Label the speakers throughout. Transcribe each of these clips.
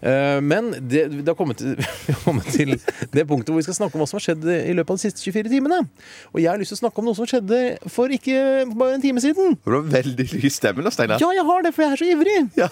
Speaker 1: Eh, Men det, det har kommet til, vi har kommet til det punktet hvor vi skal snakke om hva som har skjedd i løpet av de siste 24 timene. Og jeg har lyst til å snakke om noe som skjedde for ikke bare en time siden.
Speaker 2: Du har veldig lys stemme nå, Steinar.
Speaker 1: Ja, jeg har det, for jeg er så ivrig!
Speaker 2: Ja.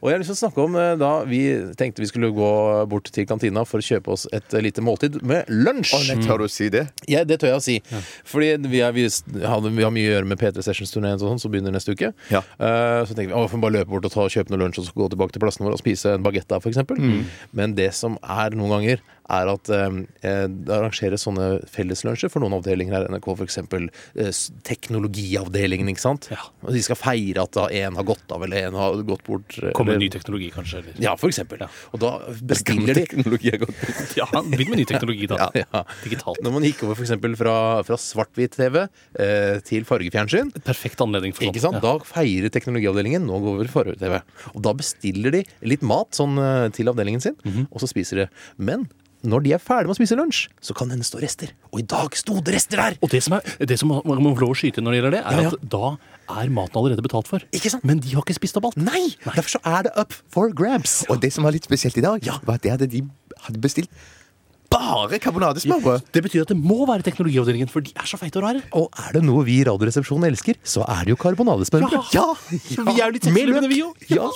Speaker 1: Og jeg har lyst til å snakke om eh, da vi tenkte vi skulle gå bort til kantina for å kjøpe oss et eh, lite måltid med lunsj.
Speaker 2: Å, nei, tør du å si det?
Speaker 1: Ja, det tør jeg å si. Fordi vi, er, vi, s- hadde, vi har mye å gjøre med P3 Sessions-turneen, sånn, som begynner neste uke.
Speaker 2: Ja.
Speaker 1: Eh, så tenker vi å, får vi bare løpe bort og ta, kjøpe noe lunsj og så gå tilbake til plassen vår og spise en bagett der, f.eks. Men det som er noen ganger, er at eh, det arrangeres sånne felleslunsjer for noen avdelinger her i NRK, f.eks. Eh, s- teknologiavdelingen, ikke sant. Og de skal feire at da én har gått av, eller én har gått bort. eh,
Speaker 3: Kommer
Speaker 1: eller-
Speaker 3: ny teknologi, kanskje? Eller?
Speaker 1: Ja, for eksempel. Og da bestiller de
Speaker 2: Teknologi har gått ut.
Speaker 3: Ja, Begynn med ny teknologi, da.
Speaker 1: Ja.
Speaker 3: Digitalt.
Speaker 1: Når man gikk over for eksempel fra, fra svart-hvit-TV eh, til fargefjernsyn,
Speaker 3: Perfekt anledning for sånn.
Speaker 1: ikke sant?
Speaker 3: Ja.
Speaker 1: da feirer teknologiavdelingen nå går over for tv Og da bestiller de litt mat sånn, eh, til avdelingen sin,
Speaker 2: Mhm.
Speaker 1: og så spiser de. Men når de er ferdig med å spise lunsj, så kan det hende stå rester. Og i dag sto det rester der!
Speaker 3: Og det som, er, det som man må få lov å skyte inn når det gjelder det, er
Speaker 1: Ja, ja.
Speaker 3: at da er maten allerede betalt for.
Speaker 1: Ikke sant?
Speaker 3: Men de har ikke spist opp alt.
Speaker 1: Nei! Derfor så er det up for grabs.
Speaker 2: Og det som var litt spesielt i dag, var at det hadde de hadde bestilt bare karbonadesmørbrød.
Speaker 3: Det betyr at det må være teknologiavdelingen, for de er så feite og rare.
Speaker 1: Og er det noe vi i Radioresepsjonen elsker, så er det jo karbonadesmørbrød.
Speaker 3: Ja! Vi er jo litt sexløpende, vi jo.
Speaker 1: Ja.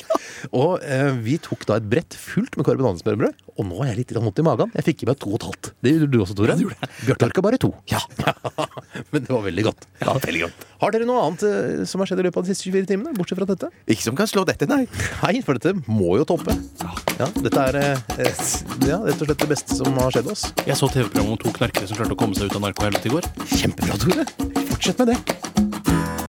Speaker 1: Og eh, vi tok da et brett fullt med karbonadesmørbrød, og nå er jeg litt grann vondt i magen. Jeg fikk i meg to og et halvt. Det gjorde du også, Tore. Bjarte orka bare to. Ja. Men det var veldig godt. Har dere noe annet eh, som har skjedd i løpet av de siste 24 timene, bortsett fra dette?
Speaker 2: Ikke som kan slå dette, nei.
Speaker 1: Nei, for dette må jo toppe. Ja, dette er eh, eh, ja, rett og slett det beste som har skjedd oss.
Speaker 3: Jeg så TV-programmet om to knarkere som klarte å komme seg ut av narkohelvetet i går.
Speaker 1: Kjempebra, Tore. Fortsett med det.